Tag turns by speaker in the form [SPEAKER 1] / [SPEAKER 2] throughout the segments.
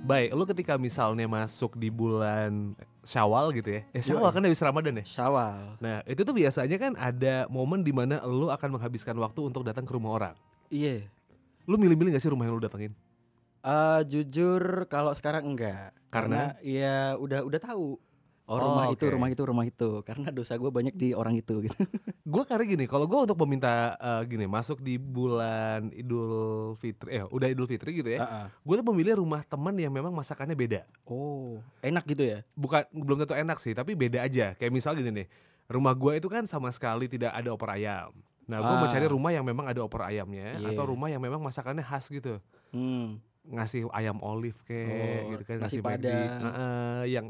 [SPEAKER 1] Baik, lu ketika misalnya masuk di bulan Syawal gitu ya. Eh Syawal kan habis Ramadan ya.
[SPEAKER 2] Syawal.
[SPEAKER 1] Nah, itu tuh biasanya kan ada momen di mana lu akan menghabiskan waktu untuk datang ke rumah orang.
[SPEAKER 2] Iya.
[SPEAKER 1] Lu milih-milih gak sih rumah yang lu datengin?
[SPEAKER 2] Eh, jujur kalau sekarang enggak.
[SPEAKER 1] Karena?
[SPEAKER 2] ya udah udah tahu.
[SPEAKER 1] Oh,
[SPEAKER 2] Oh, rumah itu,
[SPEAKER 1] oke.
[SPEAKER 2] rumah itu, rumah itu. Karena dosa gue banyak di orang itu gitu.
[SPEAKER 1] Gue karena gini, kalau gue untuk meminta eh, gini, masuk di bulan Idul Fitri, eh udah Idul Fitri gitu ya.
[SPEAKER 2] Ah, ah.
[SPEAKER 1] Gue tuh memilih rumah teman yang memang masakannya beda.
[SPEAKER 2] Oh, enak gitu ya?
[SPEAKER 1] Bukan belum tentu enak sih, tapi beda aja. Kayak misal gini nih, rumah gue itu kan sama sekali tidak ada opor ayam. Nah, gue mau
[SPEAKER 2] Ah.
[SPEAKER 1] cari rumah yang memang ada opor ayamnya
[SPEAKER 2] Iya.
[SPEAKER 1] atau rumah yang memang masakannya khas gitu.
[SPEAKER 2] Hmm.
[SPEAKER 1] Ngasih ayam olive kayak
[SPEAKER 2] Oh,
[SPEAKER 1] gitu kan,
[SPEAKER 2] nasi
[SPEAKER 1] ngasih McD.
[SPEAKER 2] padang.
[SPEAKER 1] Heeh, yang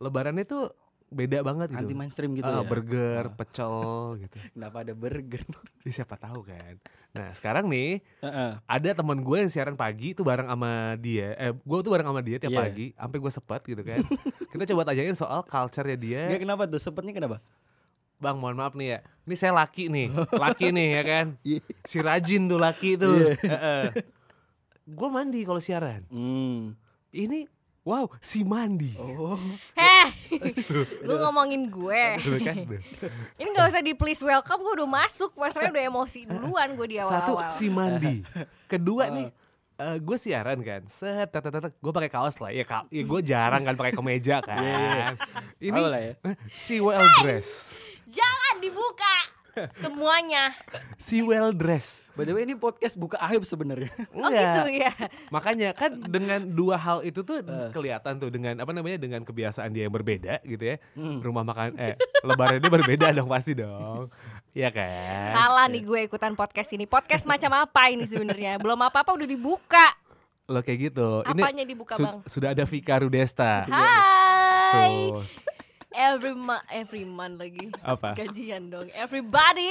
[SPEAKER 1] lebarannya tuh beda banget gitu.
[SPEAKER 2] Anti mainstream gitu
[SPEAKER 1] Ah,
[SPEAKER 2] ya.
[SPEAKER 1] burger, pecel gitu.
[SPEAKER 2] Kenapa ada burger?
[SPEAKER 1] Ih, siapa tahu kan. Nah sekarang nih
[SPEAKER 2] Heeh.
[SPEAKER 1] ada teman gue yang siaran pagi tuh bareng sama dia. Eh gue tuh bareng sama dia tiap
[SPEAKER 2] Iya.
[SPEAKER 1] pagi. Sampai gue sepet gitu kan. Kita coba tanyain soal culture-nya dia.
[SPEAKER 2] Nggak, kenapa tuh? Sempetnya kenapa?
[SPEAKER 1] Bang mohon maaf nih ya. Ini saya laki nih. Laki nih ya kan.
[SPEAKER 2] Iya.
[SPEAKER 1] Si rajin tuh laki tuh. gue mandi kalau siaran.
[SPEAKER 2] Hmm.
[SPEAKER 1] Ini wow si mandi.
[SPEAKER 2] Oh.
[SPEAKER 3] Heh, lu ngomongin gue.
[SPEAKER 1] Tuh kan?
[SPEAKER 3] Ini gak usah di please welcome, gue udah masuk. Masalahnya udah emosi duluan gue di
[SPEAKER 2] Iya,
[SPEAKER 1] Satu
[SPEAKER 3] awal-awal.
[SPEAKER 1] si mandi. Kedua nih eh,
[SPEAKER 2] Oh.
[SPEAKER 1] gue siaran kan, set, gue pakai kaos lah, ya, ka- ya gue jarang kan pakai kemeja kan. Ini eh,
[SPEAKER 2] Iya, Tahu lah ya.
[SPEAKER 1] si well dress,
[SPEAKER 3] Jangan dibuka semuanya.
[SPEAKER 1] si well dress.
[SPEAKER 2] By the way ini podcast buka aib sebenarnya.
[SPEAKER 3] Oh
[SPEAKER 1] Iya.
[SPEAKER 3] gitu ya.
[SPEAKER 1] Makanya kan dengan dua hal itu tuh
[SPEAKER 3] Eh.
[SPEAKER 1] kelihatan tuh dengan apa namanya dengan kebiasaan dia yang berbeda gitu ya.
[SPEAKER 3] Hmm.
[SPEAKER 1] Rumah makan eh lebarannya berbeda dong pasti dong. Iya kan?
[SPEAKER 3] Salah nih gue ikutan podcast ini. Podcast macam apa ini sebenarnya? Belum apa-apa udah dibuka.
[SPEAKER 1] Lo kayak gitu.
[SPEAKER 3] Apanya dibuka, Bang?
[SPEAKER 1] Sudah ada Vika Rudesta.
[SPEAKER 3] Hai.
[SPEAKER 1] Tuh.
[SPEAKER 3] Every month, every month lagi.
[SPEAKER 1] Apa?
[SPEAKER 3] Gajian dong. Everybody,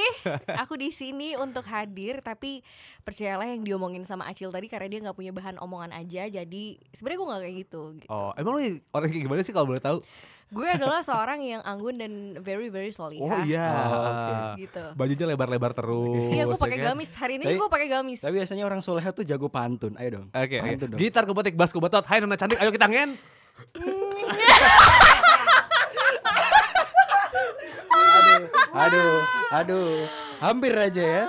[SPEAKER 3] aku di sini untuk hadir. Tapi percayalah yang diomongin sama Acil tadi karena dia nggak punya bahan omongan aja. Jadi sebenarnya gue nggak kayak gitu.
[SPEAKER 1] Oh, emang lu orang kayak gimana sih kalau boleh tahu?
[SPEAKER 3] Gue adalah seorang yang anggun dan very very solihah.
[SPEAKER 1] Oh iya.
[SPEAKER 2] Oh, oke.
[SPEAKER 3] Gitu.
[SPEAKER 1] Bajunya lebar-lebar terus.
[SPEAKER 3] Iya, gue
[SPEAKER 1] ya
[SPEAKER 3] pakai
[SPEAKER 1] kan?
[SPEAKER 3] gamis. Hari ini
[SPEAKER 2] Tapi-
[SPEAKER 3] gue pakai gamis.
[SPEAKER 2] Tapi biasanya orang soleh tuh jago pantun. Ayo dong.
[SPEAKER 1] Oke, oke.
[SPEAKER 2] pantun dong.
[SPEAKER 1] gitar kepetik bass kubetot. Hai Nona cantik, ayo kita ngen.
[SPEAKER 2] Aduh, aduh, aduh. Hampir aja ya.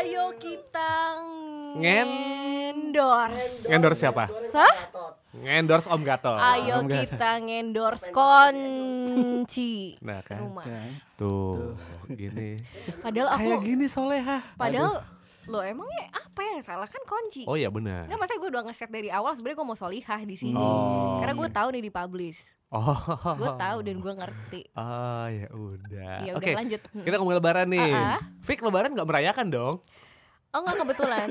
[SPEAKER 3] Ayo kita
[SPEAKER 1] Ngen.
[SPEAKER 3] ngendorse.
[SPEAKER 1] Ngendorse siapa?
[SPEAKER 3] Hah?
[SPEAKER 1] Ngendorse Om Gatot.
[SPEAKER 3] Ayo kita ngendorse kunci
[SPEAKER 1] Nah, kan.
[SPEAKER 3] rumah.
[SPEAKER 1] Tuh, gini.
[SPEAKER 3] Padahal aku
[SPEAKER 1] Kayak gini soleha.
[SPEAKER 3] padahal lo emangnya apa yang salah kan kunci.
[SPEAKER 1] Oh iya benar.
[SPEAKER 3] Enggak maksudnya gue udah ngeset dari awal sebenarnya gue mau solihah di sini.
[SPEAKER 1] Oh.
[SPEAKER 3] Karena gue tahu nih dipublish.
[SPEAKER 1] Oh.
[SPEAKER 3] Gue tahu dan gue ngerti.
[SPEAKER 1] Ah ya udah.
[SPEAKER 3] Ya udah,
[SPEAKER 1] Oke.
[SPEAKER 3] lanjut.
[SPEAKER 1] Kita ngomongin lebaran nih.
[SPEAKER 3] Ah, ah.
[SPEAKER 1] Fik lebaran nggak merayakan dong?
[SPEAKER 3] Oh enggak kebetulan.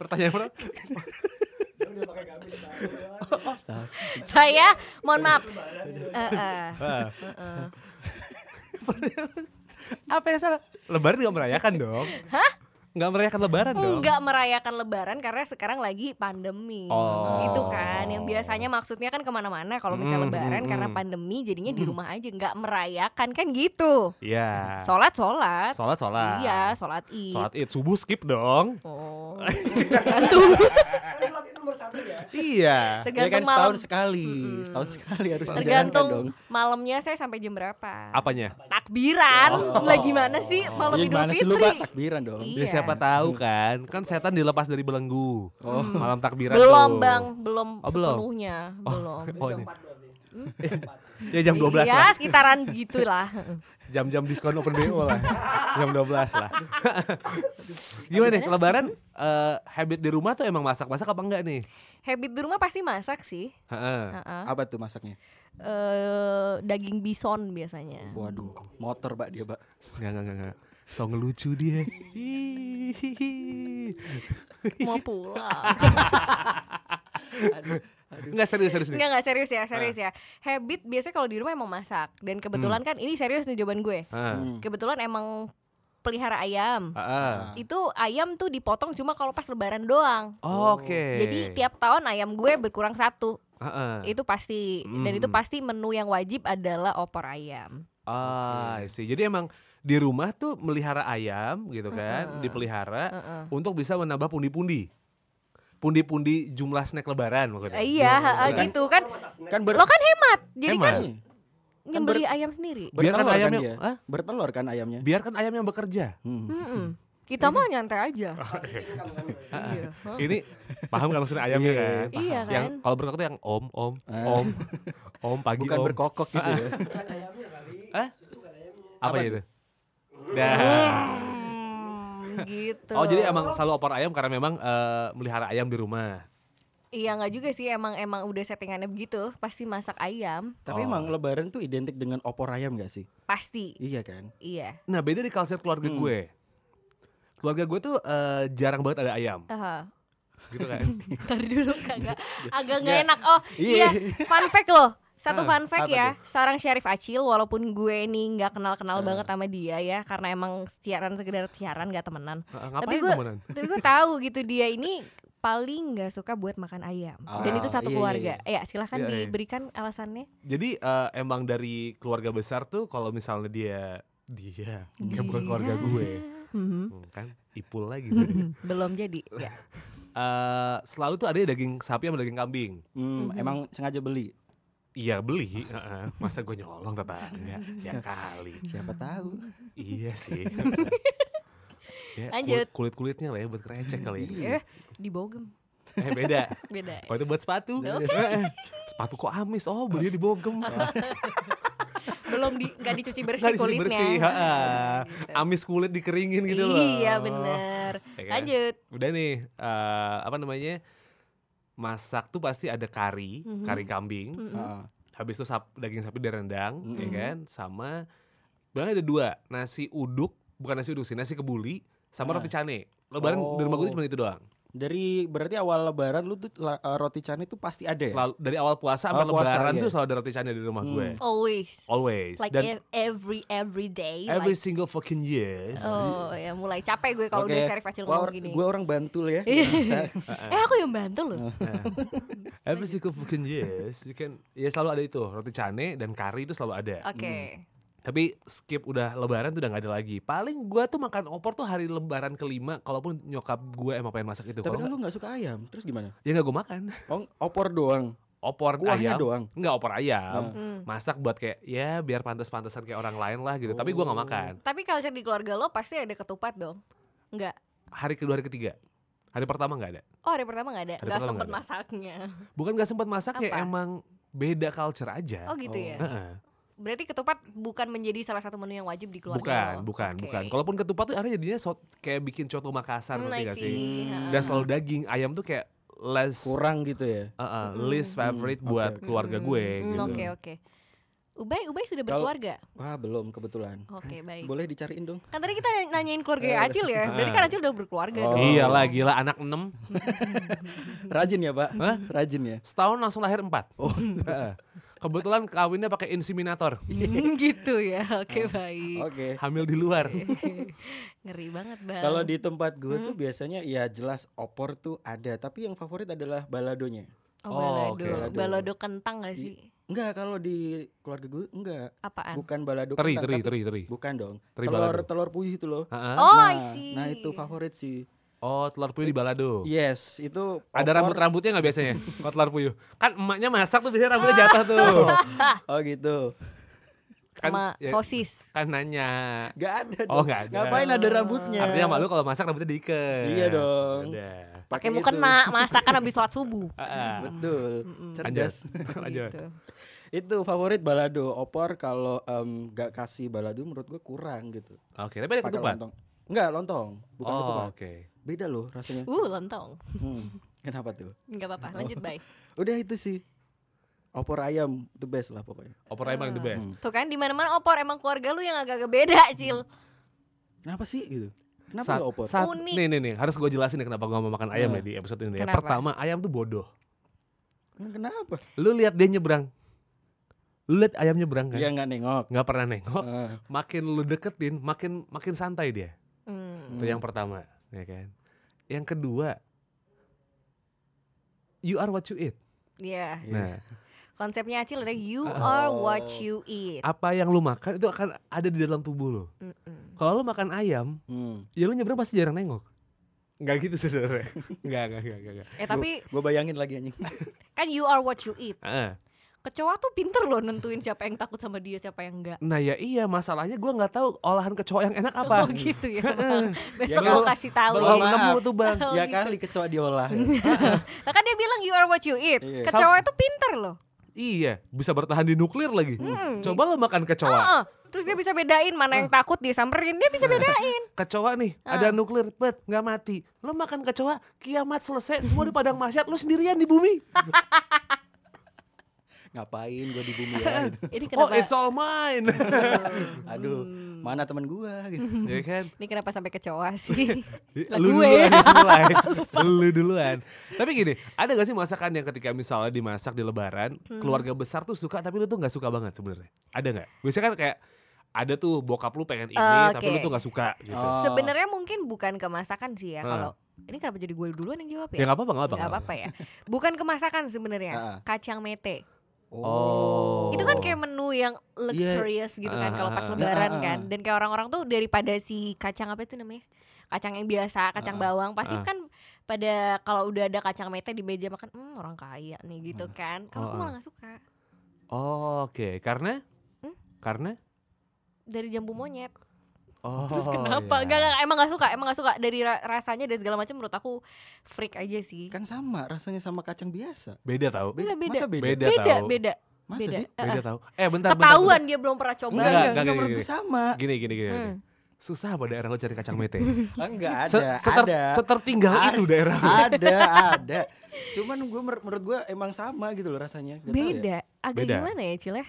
[SPEAKER 1] Pertanyaan orang.
[SPEAKER 3] Saya mohon maaf. Eh, eh.
[SPEAKER 1] Ah. Apa yang salah? Lebaran nggak merayakan dong? Hah? Nggak merayakan lebaran dong?
[SPEAKER 3] Enggak merayakan lebaran karena sekarang lagi pandemi
[SPEAKER 1] Oh.
[SPEAKER 3] Gitu kan Yang biasanya maksudnya kan kemana-mana Kalau misalnya
[SPEAKER 1] Mm,
[SPEAKER 3] lebaran
[SPEAKER 1] mm,
[SPEAKER 3] karena
[SPEAKER 1] mm.
[SPEAKER 3] pandemi Jadinya di rumah aja Enggak merayakan kan gitu
[SPEAKER 1] Iya.
[SPEAKER 3] Sholat-sholat
[SPEAKER 1] Sholat sholat.
[SPEAKER 3] Iya sholat id
[SPEAKER 1] Sholat id subuh skip dong.
[SPEAKER 3] Oh
[SPEAKER 1] Iya.
[SPEAKER 2] Ya kan
[SPEAKER 3] Tergantung malam
[SPEAKER 2] setahun sekali, setahun sekali harus
[SPEAKER 3] Tergantung
[SPEAKER 2] dijalankan dong.
[SPEAKER 3] malamnya saya sampai jam berapa
[SPEAKER 1] Apanya?
[SPEAKER 3] Takbiran Lah gimana sih malam
[SPEAKER 2] Ya
[SPEAKER 3] Idul
[SPEAKER 2] gimana sih lu Pak?
[SPEAKER 3] Fitri
[SPEAKER 2] takbiran dong.
[SPEAKER 3] Iya.
[SPEAKER 1] Ya siapa tahu kan, kan setan dilepas dari belenggu. Oh,
[SPEAKER 3] Hmm.
[SPEAKER 1] Malam takbiran
[SPEAKER 3] Belum
[SPEAKER 1] tuh.
[SPEAKER 3] bang Belum
[SPEAKER 1] Oh, belum.
[SPEAKER 3] sepenuhnya Belum
[SPEAKER 1] Oh, ini. ya jam 12
[SPEAKER 3] Iya
[SPEAKER 1] lah.
[SPEAKER 3] sekitaran gitulah
[SPEAKER 1] Jam-jam diskon open BO lah. jam 12 lah. Gimana nih lebaran eh, habit di rumah tuh emang masak-masak apa enggak nih?
[SPEAKER 3] Habit di rumah pasti masak sih.
[SPEAKER 1] Heeh.
[SPEAKER 3] Heeh.
[SPEAKER 2] Apa tuh masaknya?
[SPEAKER 3] Eh, daging bison biasanya.
[SPEAKER 2] Waduh, motor Pak dia, Pak.
[SPEAKER 1] Enggak enggak enggak, enggak. So ngelucu dia. Hihihi.
[SPEAKER 3] Mau pulang.
[SPEAKER 1] Enggak serius serius nih.
[SPEAKER 3] Enggak enggak serius ya, serius ya. Habit biasanya kalau di rumah emang masak dan kebetulan kan ini serius nih jawaban gue.
[SPEAKER 1] Heeh.
[SPEAKER 3] Kebetulan emang pelihara ayam.
[SPEAKER 1] Heeh.
[SPEAKER 3] Itu ayam tuh dipotong cuma kalau pas lebaran doang.
[SPEAKER 1] Ah. Oke.
[SPEAKER 3] Oh. Jadi tiap tahun ayam gue berkurang satu.
[SPEAKER 1] Heeh.
[SPEAKER 3] Itu pasti dan itu
[SPEAKER 1] Hmm.
[SPEAKER 3] pasti menu yang wajib adalah opor ayam.
[SPEAKER 1] Ah, I see. Jadi emang di rumah tuh melihara ayam gitu kan, dipelihara untuk bisa menambah pundi-pundi. pundi-pundi jumlah snack lebaran maksudnya.
[SPEAKER 3] Eh, iya, heeh,
[SPEAKER 1] Kan-
[SPEAKER 3] gitu kan.
[SPEAKER 2] Kan ber
[SPEAKER 3] Lo kan hemat. Jadi
[SPEAKER 1] Hemat. Kan Iya.
[SPEAKER 3] kan nyembeli ayam sendiri.
[SPEAKER 1] Biarkan
[SPEAKER 2] bertelur kan
[SPEAKER 1] ayamnya-
[SPEAKER 2] dia.
[SPEAKER 1] Hah?
[SPEAKER 2] Bertelur kan ayamnya.
[SPEAKER 1] Biarkan ayam yang bekerja.
[SPEAKER 3] Mm-mm. Kita mah nyantai aja.
[SPEAKER 1] Oh, Ah,
[SPEAKER 3] Iya. Hah?
[SPEAKER 1] Ini paham kan maksudnya ayamnya kan? Paham.
[SPEAKER 3] Iya Eh.
[SPEAKER 1] Yang
[SPEAKER 3] kan?
[SPEAKER 1] kalau berkokok tuh yang om om om om pagi
[SPEAKER 2] Bukan
[SPEAKER 1] om.
[SPEAKER 2] berkokok gitu ya.
[SPEAKER 1] Hah? Apa, itu? Dah.
[SPEAKER 3] Gitu. Hmm, gitu.
[SPEAKER 1] Oh jadi emang selalu opor ayam karena memang eh, melihara ayam di rumah.
[SPEAKER 3] Iya nggak juga sih emang emang udah settingannya begitu pasti masak ayam
[SPEAKER 2] Tapi emang lebaran tuh identik dengan opor ayam gak sih?
[SPEAKER 3] pasti
[SPEAKER 2] Iya kan?
[SPEAKER 3] iya
[SPEAKER 1] Nah beda di culture keluarga
[SPEAKER 3] Hmm.
[SPEAKER 1] gue. Keluarga gue tuh eh, jarang banget ada ayam,
[SPEAKER 3] Aha.
[SPEAKER 1] gitu kan?
[SPEAKER 3] Tadi dulu kagak agak nggak enak oh
[SPEAKER 2] Iya.
[SPEAKER 3] iya fun fact loh satu
[SPEAKER 1] Ah,
[SPEAKER 3] fun
[SPEAKER 2] apa
[SPEAKER 3] fact ya seorang Syarif Acil walaupun gue ini nggak kenal kenal
[SPEAKER 1] Ah.
[SPEAKER 3] banget sama dia ya karena emang siaran sekedar siaran nggak temenan
[SPEAKER 1] Ah, ngapain
[SPEAKER 3] tapi gue
[SPEAKER 1] temenan?
[SPEAKER 3] tapi gue tahu gitu dia ini paling nggak suka buat makan ayam dan
[SPEAKER 2] Ah,
[SPEAKER 3] itu
[SPEAKER 2] iya,
[SPEAKER 3] satu
[SPEAKER 2] iya,
[SPEAKER 3] keluarga ya silahkan
[SPEAKER 1] Iya, iya.
[SPEAKER 3] diberikan alasannya
[SPEAKER 1] Jadi eh, emang dari keluarga besar tuh kalau misalnya dia dia, dia bukan keluarga
[SPEAKER 3] Iya.
[SPEAKER 1] gue,
[SPEAKER 3] Mhm.
[SPEAKER 1] Hmm, kan ipul lagi. tadi.
[SPEAKER 3] belum jadi ya
[SPEAKER 1] Eh, selalu tuh ada daging sapi sama daging kambing.
[SPEAKER 2] Hmm, Emang sengaja beli.
[SPEAKER 1] Iya beli, heeh. masa gue nyolong tetangga ya kali.
[SPEAKER 2] Siapa tahu.
[SPEAKER 1] Iya sih. Ya,
[SPEAKER 3] Lanjut.
[SPEAKER 1] Kulit kulitnya lah ya buat krecek kali ya.
[SPEAKER 3] eh dibogem
[SPEAKER 1] Eh beda.
[SPEAKER 3] beda
[SPEAKER 1] Kalau itu buat sepatu. Eh, sepatu kok amis? Oh belinya di bawah gem.
[SPEAKER 3] belum di nggak dicuci bersih
[SPEAKER 1] Nggak dicuci
[SPEAKER 3] kulitnya Gitu.
[SPEAKER 1] bersih, heeh. Amis kulit dikeringin gitu loh.
[SPEAKER 3] iya bener
[SPEAKER 1] Ya kan?
[SPEAKER 3] lanjut
[SPEAKER 1] Udah nih eh, apa namanya? Masak tuh pasti ada kari,
[SPEAKER 3] Mhm.
[SPEAKER 1] kari kambing.
[SPEAKER 2] Heeh.
[SPEAKER 1] Habis itu sap- daging sapi direndang, ya kan? Sama sebenarnya ada dua, nasi uduk, bukan nasi uduk sih, nasi kebuli sama
[SPEAKER 2] Ah.
[SPEAKER 1] roti cane. Lebaran
[SPEAKER 2] Oh.
[SPEAKER 1] di rumah gue tuh cuma itu doang.
[SPEAKER 2] Dari berarti awal lebaran lu tuh la- eh, roti cane tuh pasti ada ya?
[SPEAKER 1] Selalu dari awal puasa sampai
[SPEAKER 2] Awal puasa,
[SPEAKER 1] lebaran
[SPEAKER 2] iya. Mm.
[SPEAKER 1] tuh selalu ada roti cane di rumah gue.
[SPEAKER 3] always
[SPEAKER 1] Always.
[SPEAKER 3] like
[SPEAKER 1] Dan
[SPEAKER 3] ev- every every day
[SPEAKER 1] every
[SPEAKER 3] like,
[SPEAKER 1] single fucking years.
[SPEAKER 3] oh ya mulai capek gue kalau udah Syarif Acil ngomong gini
[SPEAKER 2] Gue orang Bantul ya.
[SPEAKER 3] eh aku yang bantu loh
[SPEAKER 1] Hmm. Every single fucking years, you can ya selalu ada itu roti cane dan kari itu selalu ada.
[SPEAKER 3] oke
[SPEAKER 1] Tapi skip udah lebaran tuh udah gak ada lagi. Paling gua tuh makan opor tuh hari lebaran kelima kalaupun nyokap gue emang pengen masak itu. Kalau
[SPEAKER 2] Tapi kan
[SPEAKER 1] nggak-
[SPEAKER 2] lu gak suka ayam. Terus gimana?
[SPEAKER 1] ya gak gue makan.
[SPEAKER 2] Oh, opor doang.
[SPEAKER 1] Opor ayam.
[SPEAKER 2] Kuahnya doang?
[SPEAKER 1] Enggak opor
[SPEAKER 2] Hmm.
[SPEAKER 1] ayam.
[SPEAKER 3] Hmm.
[SPEAKER 1] Masak buat kayak ya biar pantas-pantasan kayak orang lain lah gitu. Tapi
[SPEAKER 3] Oh.
[SPEAKER 1] gua gak makan.
[SPEAKER 3] tapi culture di keluarga lo pasti ada ketupat dong Enggak
[SPEAKER 1] Hari kedua hari ketiga. Hari pertama gak ada.
[SPEAKER 3] oh hari pertama nggak ada
[SPEAKER 1] Hari
[SPEAKER 3] nggak
[SPEAKER 1] pertama
[SPEAKER 3] sempet
[SPEAKER 1] nggak
[SPEAKER 3] masaknya
[SPEAKER 1] Bukan gak sempat masak ya
[SPEAKER 3] Apa?
[SPEAKER 1] emang beda culture aja.
[SPEAKER 3] oh gitu ya
[SPEAKER 1] Heeh.
[SPEAKER 3] berarti ketupat bukan menjadi salah satu menu yang wajib di keluarga
[SPEAKER 1] bukan,
[SPEAKER 3] lo.
[SPEAKER 1] bukan,
[SPEAKER 3] Oke.
[SPEAKER 1] bukan. Kalaupun ketupat tuh akhirnya jadinya sot- kayak bikin coto Makassar
[SPEAKER 3] Hmm,
[SPEAKER 1] ngerti
[SPEAKER 3] I
[SPEAKER 1] gak sih?
[SPEAKER 3] see.
[SPEAKER 1] Dan selalu daging, ayam tuh kayak less
[SPEAKER 2] Kurang gitu ya.
[SPEAKER 1] uh, uh, least favorite buat keluarga gue
[SPEAKER 3] Hmm,
[SPEAKER 1] gitu.
[SPEAKER 3] Oke oke. Ubay Ubay sudah
[SPEAKER 2] Kalau-
[SPEAKER 3] berkeluarga.
[SPEAKER 2] Wah belum kebetulan.
[SPEAKER 3] Oke baik.
[SPEAKER 2] Boleh dicariin dong.
[SPEAKER 3] Kan tadi kita nanyain keluarga Acil ya. Berarti kan Acil udah berkeluarga
[SPEAKER 2] Oh.
[SPEAKER 3] dong.
[SPEAKER 1] Iyalah Iya gila anak 6
[SPEAKER 2] Rajin ya pak? Rajin ya.
[SPEAKER 1] setahun langsung lahir 4.
[SPEAKER 2] Oh.
[SPEAKER 1] Kebetulan kawinnya pakai inseminator.
[SPEAKER 3] Hmm, gitu ya. Oke baik.
[SPEAKER 2] Oke.
[SPEAKER 1] Hamil di luar.
[SPEAKER 3] Iya. Ngeri banget bang.
[SPEAKER 2] Kalau di tempat gue
[SPEAKER 3] Hmm?
[SPEAKER 2] tuh biasanya ya jelas opor tuh ada, tapi yang favorit adalah baladonya.
[SPEAKER 3] oh,
[SPEAKER 1] Oh,
[SPEAKER 3] balado.
[SPEAKER 1] oke.
[SPEAKER 3] balado. kentang gak sih?
[SPEAKER 2] Enggak, kalau di keluarga gue enggak.
[SPEAKER 3] Apaan?
[SPEAKER 2] Bukan balado
[SPEAKER 1] Teri,
[SPEAKER 2] kentang,
[SPEAKER 1] teri,
[SPEAKER 2] tapi-
[SPEAKER 1] teri, teri.
[SPEAKER 2] Bukan dong.
[SPEAKER 1] Teri
[SPEAKER 2] telur
[SPEAKER 1] balado.
[SPEAKER 2] telur puyuh itu loh.
[SPEAKER 1] Heeh.
[SPEAKER 3] Oh
[SPEAKER 2] nah,
[SPEAKER 3] I see.
[SPEAKER 2] nah itu favorit sih.
[SPEAKER 1] Oh, telur puyuh di
[SPEAKER 2] iya,
[SPEAKER 1] balado.
[SPEAKER 2] Yes, itu
[SPEAKER 1] Ada
[SPEAKER 2] opor-
[SPEAKER 1] rambut-rambutnya nggak biasanya? Kalau telur puyuh. Kan emaknya masak tuh biasanya
[SPEAKER 2] Ah,
[SPEAKER 1] rambutnya jatuh tuh.
[SPEAKER 2] Oh gitu.
[SPEAKER 1] Kan
[SPEAKER 3] Sama
[SPEAKER 1] ya,
[SPEAKER 3] sosis.
[SPEAKER 1] kan nanya.
[SPEAKER 2] Enggak ada
[SPEAKER 1] Oh,
[SPEAKER 2] dong.
[SPEAKER 1] nggak ada.
[SPEAKER 2] Ngapain ada rambutnya?
[SPEAKER 1] Artinya sama lu kalau masak rambutnya diikat.
[SPEAKER 2] Iya dong.
[SPEAKER 1] Udah.
[SPEAKER 3] Pakai
[SPEAKER 2] itu.
[SPEAKER 3] mukena masakan habis sholat subuh.
[SPEAKER 1] Ah,
[SPEAKER 2] Betul.
[SPEAKER 1] Lanjut.
[SPEAKER 2] Cerdas.
[SPEAKER 1] Lanjut.
[SPEAKER 3] Gitu.
[SPEAKER 2] itu favorit balado. Opor kalau em, nggak kasih balado menurut gue kurang gitu.
[SPEAKER 1] Oke, tapi ada
[SPEAKER 2] Pakai
[SPEAKER 1] ketupat.
[SPEAKER 2] lontong. Enggak, lontong. Bukan
[SPEAKER 1] oh,
[SPEAKER 2] ketupat.
[SPEAKER 1] oke.
[SPEAKER 2] Beda loh rasanya.
[SPEAKER 3] Uh lontong.
[SPEAKER 2] Hmm, Kenapa tuh?
[SPEAKER 3] Gak apa-apa. Lanjut baik.
[SPEAKER 2] Udah itu sih. Opor ayam the best lah pokoknya.
[SPEAKER 1] Opor ayam paling the best.
[SPEAKER 3] Tuh kan di mana-mana opor emang keluarga lu yang agak-agak beda Cil.
[SPEAKER 2] Kenapa sih gitu? Kenapa
[SPEAKER 1] Saat-
[SPEAKER 2] ya opor? Nah.
[SPEAKER 1] saat-
[SPEAKER 3] Unik.
[SPEAKER 1] Nih nih nih, harus gue jelasin nih kenapa gue mau makan ayam ya di episode ini. ya.
[SPEAKER 3] Kenapa?
[SPEAKER 1] Pertama, ayam tuh bodoh.
[SPEAKER 2] Emang Kenapa?
[SPEAKER 1] Lu lihat dia nyebrang. Lu lihat ayam nyebrang kan?
[SPEAKER 2] Dia nggak nengok. Ah,
[SPEAKER 1] Nggak pernah nengok.
[SPEAKER 2] Heeh.
[SPEAKER 1] Makin lu deketin, makin makin santai dia.
[SPEAKER 3] Hmm.
[SPEAKER 1] Itu yang pertama, ya kan? Yang kedua, you are what you eat.
[SPEAKER 3] Iya.
[SPEAKER 1] Nah,
[SPEAKER 3] Konsepnya Acil adalah you are what you eat.
[SPEAKER 1] apa yang lu makan itu akan ada di dalam tubuh lu.
[SPEAKER 3] Mm-mm.
[SPEAKER 1] Kalau lu makan ayam,
[SPEAKER 2] Hmm.
[SPEAKER 1] ya lu nyebrang pasti jarang nengok. Enggak gitu sih sebenarnya. Enggak, enggak, enggak, enggak, enggak.
[SPEAKER 3] Eh tapi
[SPEAKER 2] gue bayangin lagi anjing
[SPEAKER 3] kan you are what you eat.
[SPEAKER 1] Heeh.
[SPEAKER 3] Kecoa tuh pinter loh nentuin siapa yang takut sama dia, siapa yang enggak.
[SPEAKER 1] Nah ya iya masalahnya gua nggak tahu olahan kecoa yang enak apa.
[SPEAKER 3] Oh gitu ya. Bang. Besok
[SPEAKER 2] kan
[SPEAKER 3] aku
[SPEAKER 2] lo-
[SPEAKER 3] kasih tahu.
[SPEAKER 2] belum
[SPEAKER 1] Hmm. Belum
[SPEAKER 2] maaf.
[SPEAKER 1] nemu tuh bang.
[SPEAKER 3] Oh,
[SPEAKER 2] ya
[SPEAKER 3] gitu.
[SPEAKER 2] kali kecoa diolah
[SPEAKER 3] Nah, kan dia bilang you are what you eat.
[SPEAKER 2] Iya.
[SPEAKER 3] Kecoa itu pinter loh.
[SPEAKER 1] Iya bisa bertahan di nuklir lagi.
[SPEAKER 3] Hmm, gitu.
[SPEAKER 1] Coba lo makan kecoa.
[SPEAKER 3] Heeh. Terus dia bisa bedain mana yang takut dia samperin, dia bisa bedain.
[SPEAKER 1] Kecoa nih
[SPEAKER 3] Ah.
[SPEAKER 1] ada nuklir, bet nggak mati. Lo makan kecoa, kiamat selesai semua di padang masyarakat. Lo sendirian di bumi.
[SPEAKER 2] ngapain gue di bumi ya gitu.
[SPEAKER 3] Ini
[SPEAKER 1] Oh
[SPEAKER 3] kenapa?
[SPEAKER 1] it's all mine.
[SPEAKER 2] aduh mana teman gue gitu
[SPEAKER 1] ya kan.
[SPEAKER 3] ini kenapa sampai kecoa sih? Lah
[SPEAKER 1] lu duluan,
[SPEAKER 3] gue ya.
[SPEAKER 1] lu duluan. lu duluan. Tapi gini, ada gak sih masakan yang ketika misalnya dimasak di lebaran,
[SPEAKER 3] Hmm.
[SPEAKER 1] keluarga besar tuh suka tapi lu tuh gak suka banget sebenarnya? Ada gak? Biasanya kan kayak ada tuh bokap lu pengen ini
[SPEAKER 3] Eh,
[SPEAKER 1] tapi lu
[SPEAKER 3] oke.
[SPEAKER 1] tuh gak suka gitu.
[SPEAKER 2] Oh.
[SPEAKER 3] Sebenarnya mungkin bukan ke masakan sih ya
[SPEAKER 1] Ah.
[SPEAKER 3] kalau ini kenapa jadi gue duluan yang
[SPEAKER 1] Ya
[SPEAKER 3] jawab ya?
[SPEAKER 1] gak apa-apa, gak apa-apa.
[SPEAKER 3] Gak apa-apa ya. Bukan ke
[SPEAKER 2] Ah.
[SPEAKER 3] masakan sebenarnya, kacang mete.
[SPEAKER 1] Oh.
[SPEAKER 3] Itu kan kayak menu yang luxurious gitu kan
[SPEAKER 1] Ah,
[SPEAKER 3] kalau pas
[SPEAKER 1] ah, ah.
[SPEAKER 3] lebaran
[SPEAKER 2] Ah, ah,
[SPEAKER 3] kan. Dan kayak orang-orang tuh daripada si kacang apa itu namanya? Kacang yang biasa, kacang bawang pasti
[SPEAKER 1] ah.
[SPEAKER 3] kan pada kalau udah ada kacang mete di meja makan, hmm orang kaya nih gitu kan. Kalau aku
[SPEAKER 1] Oh, ah.
[SPEAKER 3] malah gak suka
[SPEAKER 1] Oh, Oke, karena?
[SPEAKER 3] Hmm?
[SPEAKER 1] Karena?
[SPEAKER 3] dari jambu monyet.
[SPEAKER 1] Oh,
[SPEAKER 3] Terus kenapa?
[SPEAKER 1] iya.
[SPEAKER 3] Gak, gak, emang gak suka, emang gak suka dari ra- rasanya dan segala macam menurut aku freak aja sih.
[SPEAKER 2] kan sama rasanya sama kacang biasa
[SPEAKER 1] Beda tau?
[SPEAKER 3] Beda, beda.
[SPEAKER 2] masa beda,
[SPEAKER 1] Beda.
[SPEAKER 3] Beda,
[SPEAKER 1] tahu.
[SPEAKER 3] beda.
[SPEAKER 2] masa
[SPEAKER 3] Beda.
[SPEAKER 2] sih
[SPEAKER 1] Beda tau? Eh bentar, bentar,
[SPEAKER 3] Ketahuan dia belum pernah
[SPEAKER 2] enggak
[SPEAKER 3] coba.
[SPEAKER 1] Enggak,
[SPEAKER 2] enggak enggak
[SPEAKER 1] enggak,
[SPEAKER 2] menurut
[SPEAKER 1] gini,
[SPEAKER 2] gue sama
[SPEAKER 1] bentar. Gini, gini, gini.
[SPEAKER 3] Hmm.
[SPEAKER 1] Susah apa daerah lo cari kacang mete?
[SPEAKER 2] enggak
[SPEAKER 1] Se-
[SPEAKER 2] ada
[SPEAKER 1] seter-
[SPEAKER 2] ada
[SPEAKER 1] Setertinggal itu daerah.
[SPEAKER 2] ada ada cuman gue menurut gue emang sama gitu loh rasanya Nggak tahu ya.
[SPEAKER 3] Beda. Agak
[SPEAKER 1] Beda. Oh.
[SPEAKER 3] gimana ya, Cile?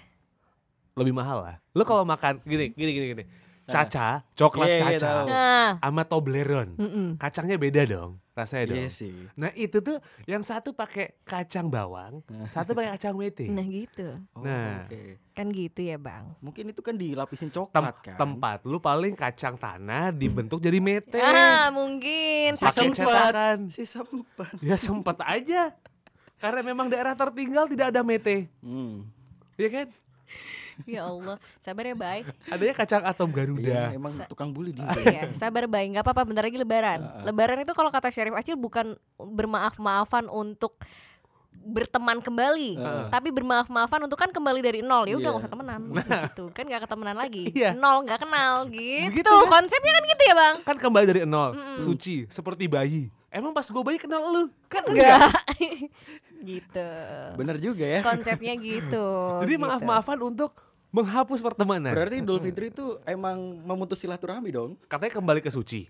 [SPEAKER 1] lebih mahal lah. Lo kalau makan gini gini gini gini.
[SPEAKER 2] Nah.
[SPEAKER 1] Caca, coklat
[SPEAKER 2] Iya, iya,
[SPEAKER 1] caca
[SPEAKER 2] tahu.
[SPEAKER 3] Nah,
[SPEAKER 1] sama Toblerone. Kacangnya beda dong rasanya dong.
[SPEAKER 2] Iya sih.
[SPEAKER 1] Nah, itu tuh yang satu pakai kacang bawang, satu pakai kacang mete.
[SPEAKER 3] nah gitu.
[SPEAKER 2] Oh,
[SPEAKER 1] Nah.
[SPEAKER 2] oke.
[SPEAKER 3] Kan gitu ya, Bang.
[SPEAKER 2] Mungkin itu kan dilapisin
[SPEAKER 1] Tem-
[SPEAKER 2] coklat kan.
[SPEAKER 1] tempat lu paling kacang tanah dibentuk jadi mete.
[SPEAKER 3] Ah, mungkin.
[SPEAKER 2] si
[SPEAKER 1] pakai
[SPEAKER 2] sempat.
[SPEAKER 1] cetakan.
[SPEAKER 2] Si sempat.
[SPEAKER 1] Ya sempet aja. Karena memang daerah tertinggal tidak ada mete.
[SPEAKER 2] Hmm.
[SPEAKER 1] Iya kan?
[SPEAKER 3] ya Allah, sabar ya, Bay.
[SPEAKER 1] Adanya kacang atom Garuda.
[SPEAKER 2] Iya, emang tukang bully dia.
[SPEAKER 3] Iya, sabar Bay. Enggak apa-apa, bentar lagi lebaran. Lebaran itu kalau kata Syarif Acil bukan bermaaf-maafan untuk berteman kembali, tapi bermaaf-maafan untuk kan kembali dari nol. Ya udah nggak usah temenan gitu. Kan nggak ketemenan lagi.
[SPEAKER 1] Iya.
[SPEAKER 3] Nol nggak kenal gitu.
[SPEAKER 1] Begitu kan?
[SPEAKER 3] Konsepnya kan gitu ya, Bang?
[SPEAKER 1] Kan kembali dari nol, suci, seperti bayi. Emang pas gue bayi kenal lu? Kan enggak. Eh.
[SPEAKER 3] Enggak. gitu.
[SPEAKER 2] Bener juga ya.
[SPEAKER 3] Konsepnya gitu.
[SPEAKER 1] Jadi
[SPEAKER 3] gitu.
[SPEAKER 1] maaf-maafan untuk menghapus pertemanan.
[SPEAKER 2] Berarti Idul Fitri itu emang memutus silaturahmi dong.
[SPEAKER 1] Katanya kembali ke suci.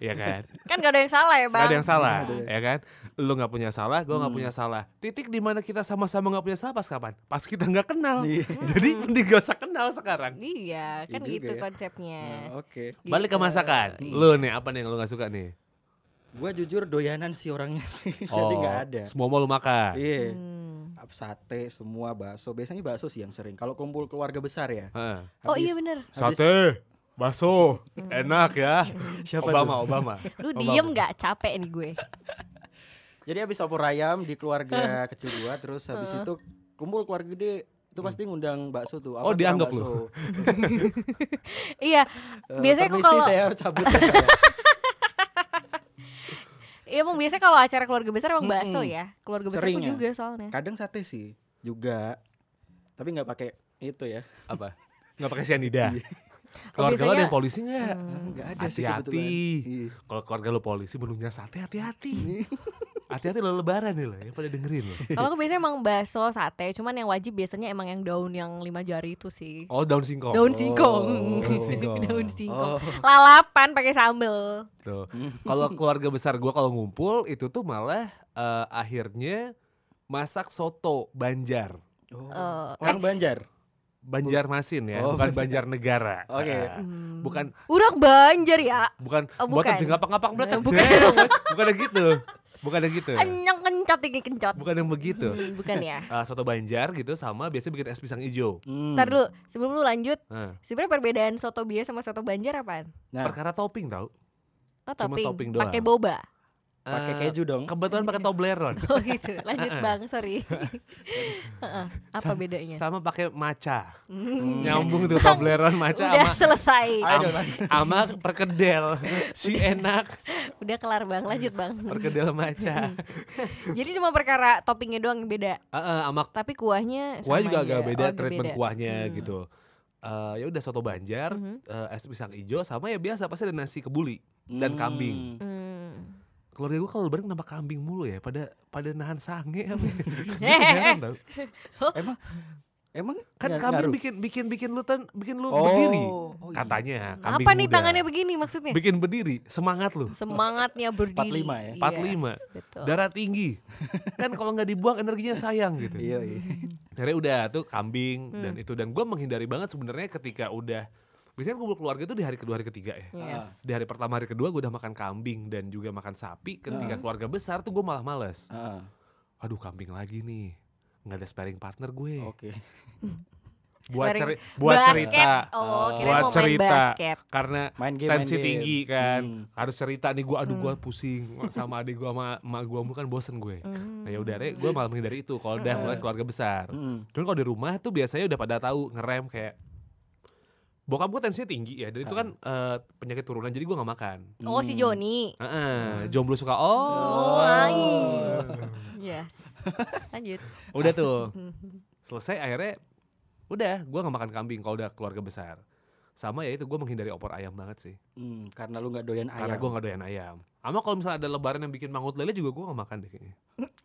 [SPEAKER 1] Iya kan?
[SPEAKER 3] Kan gak ada yang salah ya,
[SPEAKER 1] Gak
[SPEAKER 3] Bang?
[SPEAKER 1] ada yang salah, ya kan? Lu nggak punya salah, gua
[SPEAKER 2] Hmm.
[SPEAKER 1] nggak punya salah. Titik di mana kita sama-sama nggak punya salah pas kapan? Pas kita nggak kenal. Jadi mending gak usah kenal sekarang.
[SPEAKER 3] Iya,
[SPEAKER 2] Iya
[SPEAKER 3] kan
[SPEAKER 2] juga
[SPEAKER 3] gitu
[SPEAKER 2] ya.
[SPEAKER 3] konsepnya.
[SPEAKER 2] Nah, Oke.
[SPEAKER 3] Gitu.
[SPEAKER 1] Balik ke masakan. Lu nih apa nih yang lu nggak suka nih?
[SPEAKER 2] Gua jujur doyanan si orangnya sih.
[SPEAKER 1] Oh.
[SPEAKER 2] Jadi
[SPEAKER 3] Oh.
[SPEAKER 2] nggak ada.
[SPEAKER 1] Semua mau lu makan.
[SPEAKER 2] Iya.
[SPEAKER 3] Hmm.
[SPEAKER 2] Ap- Sate semua bakso. Biasanya bakso sih yang sering. Kalau kumpul keluarga besar ya.
[SPEAKER 1] Heeh.
[SPEAKER 3] Oh iya
[SPEAKER 2] Habis-
[SPEAKER 3] bener.
[SPEAKER 1] Sate, bakso, enak ya.
[SPEAKER 2] Siapa
[SPEAKER 1] Obama, Obama.
[SPEAKER 3] Hmm. Lu diem gak capek nih gue.
[SPEAKER 2] Jadi habis opor ayam di keluarga kecil gua terus habis itu kumpul keluarga gede itu pasti ngundang bakso tuh.
[SPEAKER 1] Hmm. Oh, dianggap lu.
[SPEAKER 3] iya, biasanya kok
[SPEAKER 2] Eh, Permisi
[SPEAKER 3] kalau
[SPEAKER 2] saya harus cabut.
[SPEAKER 3] iya emang biasanya kalau acara keluarga besar emang bakso ya. Keluarga besar
[SPEAKER 2] Sering ya.
[SPEAKER 3] juga soalnya.
[SPEAKER 2] Kadang sate sih juga. Tapi nggak pakai itu ya.
[SPEAKER 1] Apa? Nggak pakai sianida.
[SPEAKER 2] Iya.
[SPEAKER 3] Oh,
[SPEAKER 1] Keluarga lo ada
[SPEAKER 3] biasanya- Hmm.
[SPEAKER 1] yang polisi nggak?
[SPEAKER 2] Nggak ada sih
[SPEAKER 1] hati-hati
[SPEAKER 2] kebetulan. Iya.
[SPEAKER 1] kalau keluarga lo polisi menunya sate hati-hati hati-hati lo lebaran nih lo yang pada dengerin lo
[SPEAKER 3] Kalau aku biasanya emang bakso, sate, cuman yang wajib biasanya emang yang daun yang lima jari itu sih.
[SPEAKER 1] oh daun singkong
[SPEAKER 3] Daun singkong.
[SPEAKER 1] singkong.
[SPEAKER 3] daun singkong. Lalapan pakai sambel.
[SPEAKER 1] Tuh. Gitu. kalau keluarga besar gua kalau ngumpul itu tuh malah eh, akhirnya masak soto Banjar
[SPEAKER 3] Eh,
[SPEAKER 2] Oh. Orang Banjar.
[SPEAKER 1] Banjarmasin ya
[SPEAKER 2] Oh,
[SPEAKER 1] bukan Banjarnegara
[SPEAKER 2] Oke.
[SPEAKER 1] Nah, bukan
[SPEAKER 3] Urang banjar ya.
[SPEAKER 1] bukan
[SPEAKER 3] Hmm. Oh,
[SPEAKER 1] buat
[SPEAKER 3] bukan.
[SPEAKER 1] ngapak ngapak meletak
[SPEAKER 3] Bukan.
[SPEAKER 1] jeng. bukan yang gitu bukan yang gitu
[SPEAKER 3] Kenyang kencot ini kencot.
[SPEAKER 1] bukan yang begitu
[SPEAKER 3] Hmm, Bukan ya.
[SPEAKER 1] Eh, soto Banjar gitu sama biasanya bikin es pisang hijau
[SPEAKER 2] Hmm.
[SPEAKER 3] Ntar dulu, sebelum lu lanjut,
[SPEAKER 1] Nah,
[SPEAKER 3] sebenarnya perbedaan soto biasa sama soto banjar apaan?
[SPEAKER 2] Nah,
[SPEAKER 1] perkara topping tau
[SPEAKER 3] Oh,
[SPEAKER 1] Cuma
[SPEAKER 3] topping.
[SPEAKER 1] topping doang.
[SPEAKER 3] Pakai boba.
[SPEAKER 1] Eh,
[SPEAKER 2] Pakai
[SPEAKER 1] Eh,
[SPEAKER 2] keju dong.
[SPEAKER 1] Kebetulan pakai Toblerone.
[SPEAKER 3] Oh gitu. Lanjut Bang, sorry. Heeh, Apa bedanya?
[SPEAKER 1] Sama pakai maca.
[SPEAKER 2] Iya.
[SPEAKER 1] Nyambung tuh Toblerone maca
[SPEAKER 3] Udah
[SPEAKER 1] sama
[SPEAKER 3] selesai.
[SPEAKER 1] am- sama perkedel. Si enak
[SPEAKER 3] Udah kelar Bang, lanjut Bang.
[SPEAKER 1] perkedel maca.
[SPEAKER 3] Jadi cuma perkara toppingnya doang yang beda.
[SPEAKER 1] Heeh, sama
[SPEAKER 3] Tapi kuahnya
[SPEAKER 1] kuah
[SPEAKER 3] sama
[SPEAKER 1] juga agak
[SPEAKER 3] aja.
[SPEAKER 1] beda
[SPEAKER 3] Oh, agak
[SPEAKER 1] treatment
[SPEAKER 3] beda.
[SPEAKER 1] kuahnya gitu. Eh, ya udah soto Banjar, eh, es pisang ijo sama ya biasa pasti ada nasi kebuli dan kambing.
[SPEAKER 3] Hmm.
[SPEAKER 1] Keluarga gue kalau lebaran kenapa kambing mulu ya? Pada pada nahan sange apa? ya? Heran
[SPEAKER 3] Hehehe.
[SPEAKER 1] tau.
[SPEAKER 2] Emang emang
[SPEAKER 1] kan
[SPEAKER 2] nggak-
[SPEAKER 1] kambing
[SPEAKER 2] ngaruh?
[SPEAKER 1] bikin bikin bikin lu tan- bikin lu
[SPEAKER 2] Oh,
[SPEAKER 1] berdiri
[SPEAKER 2] oh iya.
[SPEAKER 1] katanya kambing
[SPEAKER 3] Apa nih
[SPEAKER 1] muda.
[SPEAKER 3] tangannya begini maksudnya?
[SPEAKER 1] bikin berdiri semangat lu
[SPEAKER 3] Semangatnya berdiri.
[SPEAKER 2] 45 ya?
[SPEAKER 3] Yes,
[SPEAKER 1] 45
[SPEAKER 3] betul.
[SPEAKER 1] darah tinggi kan kalau nggak dibuang energinya sayang gitu
[SPEAKER 2] Iya, iya.
[SPEAKER 1] Akhirnya udah tuh kambing dan itu dan gue menghindari banget sebenarnya ketika udah biasanya kan kumpul keluarga itu di hari kedua hari ketiga ya
[SPEAKER 3] Yes.
[SPEAKER 1] di hari pertama hari kedua gue udah makan kambing dan juga makan sapi ketika keluarga besar tuh gue malah males
[SPEAKER 2] Ah,
[SPEAKER 1] aduh kambing lagi nih nggak ada sparring partner gue
[SPEAKER 2] Oke.
[SPEAKER 1] buat
[SPEAKER 3] Sparring-
[SPEAKER 1] ceri- buat
[SPEAKER 3] basket.
[SPEAKER 1] cerita
[SPEAKER 3] Oh, kirain
[SPEAKER 1] buat
[SPEAKER 3] mau main
[SPEAKER 1] cerita
[SPEAKER 3] basket.
[SPEAKER 1] karena
[SPEAKER 2] Main game,
[SPEAKER 1] tensi
[SPEAKER 2] main game.
[SPEAKER 1] tinggi kan
[SPEAKER 2] Hmm.
[SPEAKER 1] harus cerita nih gue aduh gue pusing sama adik gue sama emak gue mulu kan bosen gue
[SPEAKER 2] Hmm.
[SPEAKER 1] nah ya udah deh gue malah menghindari itu kalau udah mulai keluarga besar
[SPEAKER 2] Mm.
[SPEAKER 1] cuman kalau di rumah tuh biasanya udah pada tahu ngerem kayak bokap gue tensinya tinggi ya dan
[SPEAKER 2] Ah.
[SPEAKER 1] itu kan eh, penyakit turunan jadi gue nggak makan
[SPEAKER 3] Oh, si Joni.
[SPEAKER 1] Hmm. Heeh,
[SPEAKER 2] Hmm.
[SPEAKER 1] jomblo suka oh
[SPEAKER 3] Oh, ai. Yes. Lanjut.
[SPEAKER 1] udah tuh selesai akhirnya udah gue nggak makan kambing kalau udah keluarga besar sama ya itu gue menghindari opor ayam banget sih
[SPEAKER 2] Hmm, karena lu nggak doyan
[SPEAKER 1] karena
[SPEAKER 2] ayam.
[SPEAKER 1] gue nggak doyan ayam sama kalau misalnya ada lebaran yang bikin mangut lele juga gue nggak makan deh kayaknya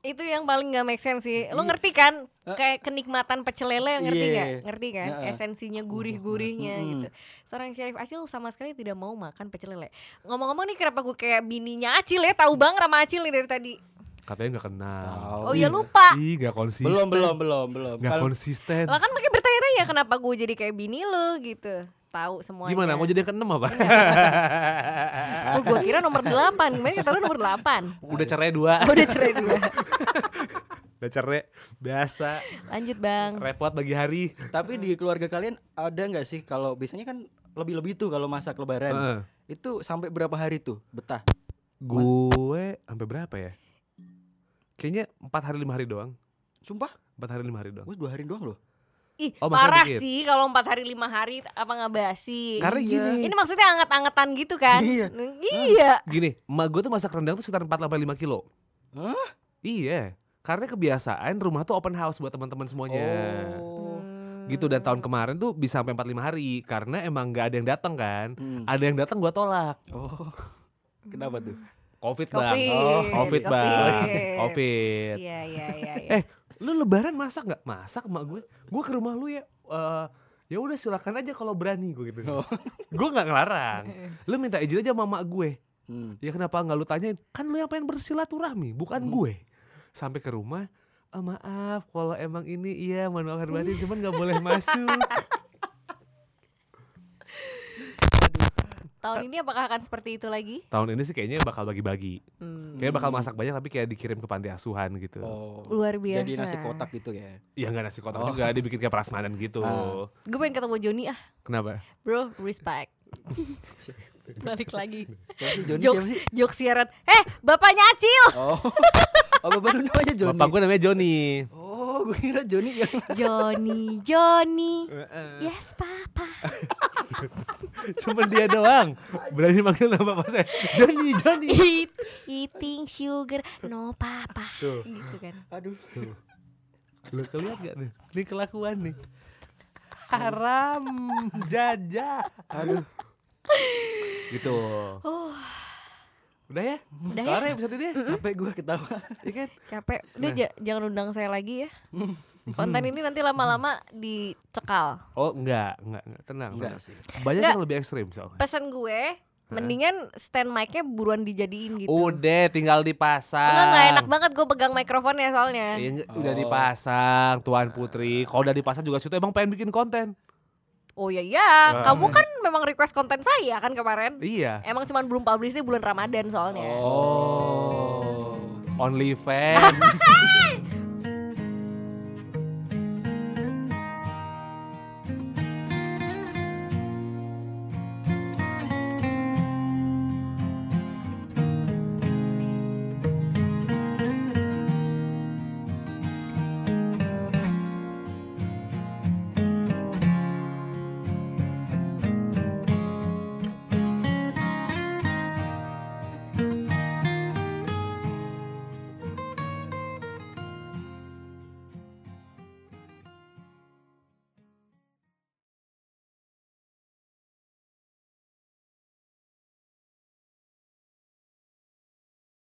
[SPEAKER 3] Itu yang paling gak make sense sih.
[SPEAKER 1] Iya.
[SPEAKER 3] Lo ngerti kan?
[SPEAKER 1] Eh.
[SPEAKER 3] Kayak kenikmatan pecel lele yang ngerti
[SPEAKER 2] Iya.
[SPEAKER 3] nggak? Ngerti kan?
[SPEAKER 2] Heeh.
[SPEAKER 3] Esensinya gurih-gurihnya gitu. Seorang Syarif Acil sama sekali tidak mau makan pecel lele. Ngomong-ngomong nih kenapa gue kayak bininya Acil ya? Tahu banget sama Acil nih dari tadi.
[SPEAKER 1] katanya nggak kenal
[SPEAKER 3] Oh,
[SPEAKER 1] Ih,
[SPEAKER 3] iya lupa.
[SPEAKER 1] ih nggak konsisten
[SPEAKER 2] Belum, belum, belum, belum.
[SPEAKER 1] nggak
[SPEAKER 2] Kalau-
[SPEAKER 1] konsisten
[SPEAKER 3] Lah kan makin bertanya-tanya kenapa gue jadi kayak bini lo gitu. Tahu semuanya.
[SPEAKER 1] gimana mau jadi yang keenam apa
[SPEAKER 3] Oh, gue kira nomor 8. Kemarin kata lo nomor 8.
[SPEAKER 1] udah cerai dua
[SPEAKER 3] Udah cerai dua.
[SPEAKER 1] udah cerai biasa
[SPEAKER 3] Lanjut, Bang.
[SPEAKER 1] repot bagi hari
[SPEAKER 2] Tapi di keluarga kalian ada nggak sih kalau biasanya kan lebih-lebih tuh kalau masak lebaran.
[SPEAKER 1] Heeh.
[SPEAKER 2] Itu sampai berapa hari tuh betah?
[SPEAKER 1] gue sampai berapa ya kayaknya empat hari lima hari doang
[SPEAKER 2] Sumpah,
[SPEAKER 1] empat hari lima hari doang
[SPEAKER 2] gue dua hari doang loh.
[SPEAKER 3] Ih,
[SPEAKER 1] Oh, maksudnya
[SPEAKER 3] parah
[SPEAKER 1] dikit.
[SPEAKER 3] sih kalau empat hari lima hari apa nggak basi.
[SPEAKER 1] Karena Iya. gini.
[SPEAKER 3] Ini maksudnya anget-angetan gitu kan?
[SPEAKER 2] Iya.
[SPEAKER 3] N- Iya.
[SPEAKER 1] Gini, emak gue tuh masak rendang tuh sekitar 4 sampai 5 kilo.
[SPEAKER 2] Hah?
[SPEAKER 1] Iya, karena kebiasaan rumah tuh open house buat teman-teman semuanya.
[SPEAKER 2] Oh.
[SPEAKER 1] Gitu dan tahun kemarin tuh bisa sampai 45 hari karena emang nggak ada yang datang kan. Ada yang datang gua tolak.
[SPEAKER 2] Hmm. Oh. Kenapa tuh?
[SPEAKER 1] Covid, Bang.
[SPEAKER 3] Covid.
[SPEAKER 1] Oh, Covid, Bang.
[SPEAKER 3] Covid.
[SPEAKER 1] Covid.
[SPEAKER 3] Iya, iya, iya. iya.
[SPEAKER 1] Eh, lu lebaran masak nggak? Masak emak gue. Gue ke rumah lu ya. eh, ya udah silakan aja kalau berani gue gitu.
[SPEAKER 2] Oh.
[SPEAKER 1] gue nggak ngelarang. Lu minta izin aja sama emak gue.
[SPEAKER 2] Hmm.
[SPEAKER 1] Ya kenapa nggak lu tanyain? Kan lu yang pengen bersilaturahmi, bukan gue. Sampai ke rumah, "Eh, maaf kalau emang ini iya mohon maaf lahir batin cuman nggak boleh masuk.
[SPEAKER 3] Tahun ini apakah akan seperti itu lagi?
[SPEAKER 1] Tahun ini sih kayaknya bakal bagi-bagi. Kayaknya bakal masak banyak tapi kayak dikirim ke panti asuhan gitu.
[SPEAKER 2] Oh.
[SPEAKER 3] Luar biasa.
[SPEAKER 2] Jadi nasi kotak gitu ya.
[SPEAKER 1] Ya nggak nasi kotak juga, dibikin kayak prasmanan gitu.
[SPEAKER 3] Gue pengen ketemu Joni ah,
[SPEAKER 1] Kenapa?
[SPEAKER 3] bro, respect. Balik lagi.
[SPEAKER 2] Siapa sih Joni siapa
[SPEAKER 3] Jokes,
[SPEAKER 2] sih?
[SPEAKER 3] jokes siaran. Eh, bapaknya Acil.
[SPEAKER 2] Oh. Oh, bapak lu namanya Joni.
[SPEAKER 1] Bapak gue namanya Joni.
[SPEAKER 2] Oh, gue kira Joni yang
[SPEAKER 3] Joni, Joni. Yes, papa.
[SPEAKER 1] Cuman dia doang berani manggil nama bapak saya. Joni, Joni.
[SPEAKER 3] Eat, eating sugar, no papa. Gitu kan.
[SPEAKER 2] aduh.
[SPEAKER 1] Lu keliat gak nih? Ini kelakuan nih. Haram jajah. Aduh. gitu. Udah ya?
[SPEAKER 3] Udah ya?
[SPEAKER 1] Kelar episode ini?
[SPEAKER 2] Capek gue ketawa.
[SPEAKER 1] Iya kan?
[SPEAKER 3] Capek. Udah
[SPEAKER 2] Nah.
[SPEAKER 3] ja- jangan undang saya lagi ya. Konten ini nanti lama-lama dicekal.
[SPEAKER 1] Oh enggak, enggak, enggak. Tenang.
[SPEAKER 2] Enggak
[SPEAKER 1] tenang.
[SPEAKER 2] sih.
[SPEAKER 1] Banyak
[SPEAKER 3] Enggak.
[SPEAKER 1] yang lebih ekstrim soalnya.
[SPEAKER 3] Pesan gue, mendingan stand mic-nya buruan dijadiin gitu.
[SPEAKER 1] Udah tinggal dipasang.
[SPEAKER 3] Enggak, enggak enak banget gue pegang mikrofonnya soalnya.
[SPEAKER 1] Ya, enggak, Udah dipasang Tuan Putri Kalau udah dipasang juga situ emang pengen bikin konten
[SPEAKER 3] Oh ya iya, kamu kan memang request konten saya kan kemarin.
[SPEAKER 1] Iya
[SPEAKER 3] Emang cuman belum publish di bulan Ramadan soalnya.
[SPEAKER 1] Oh Only fans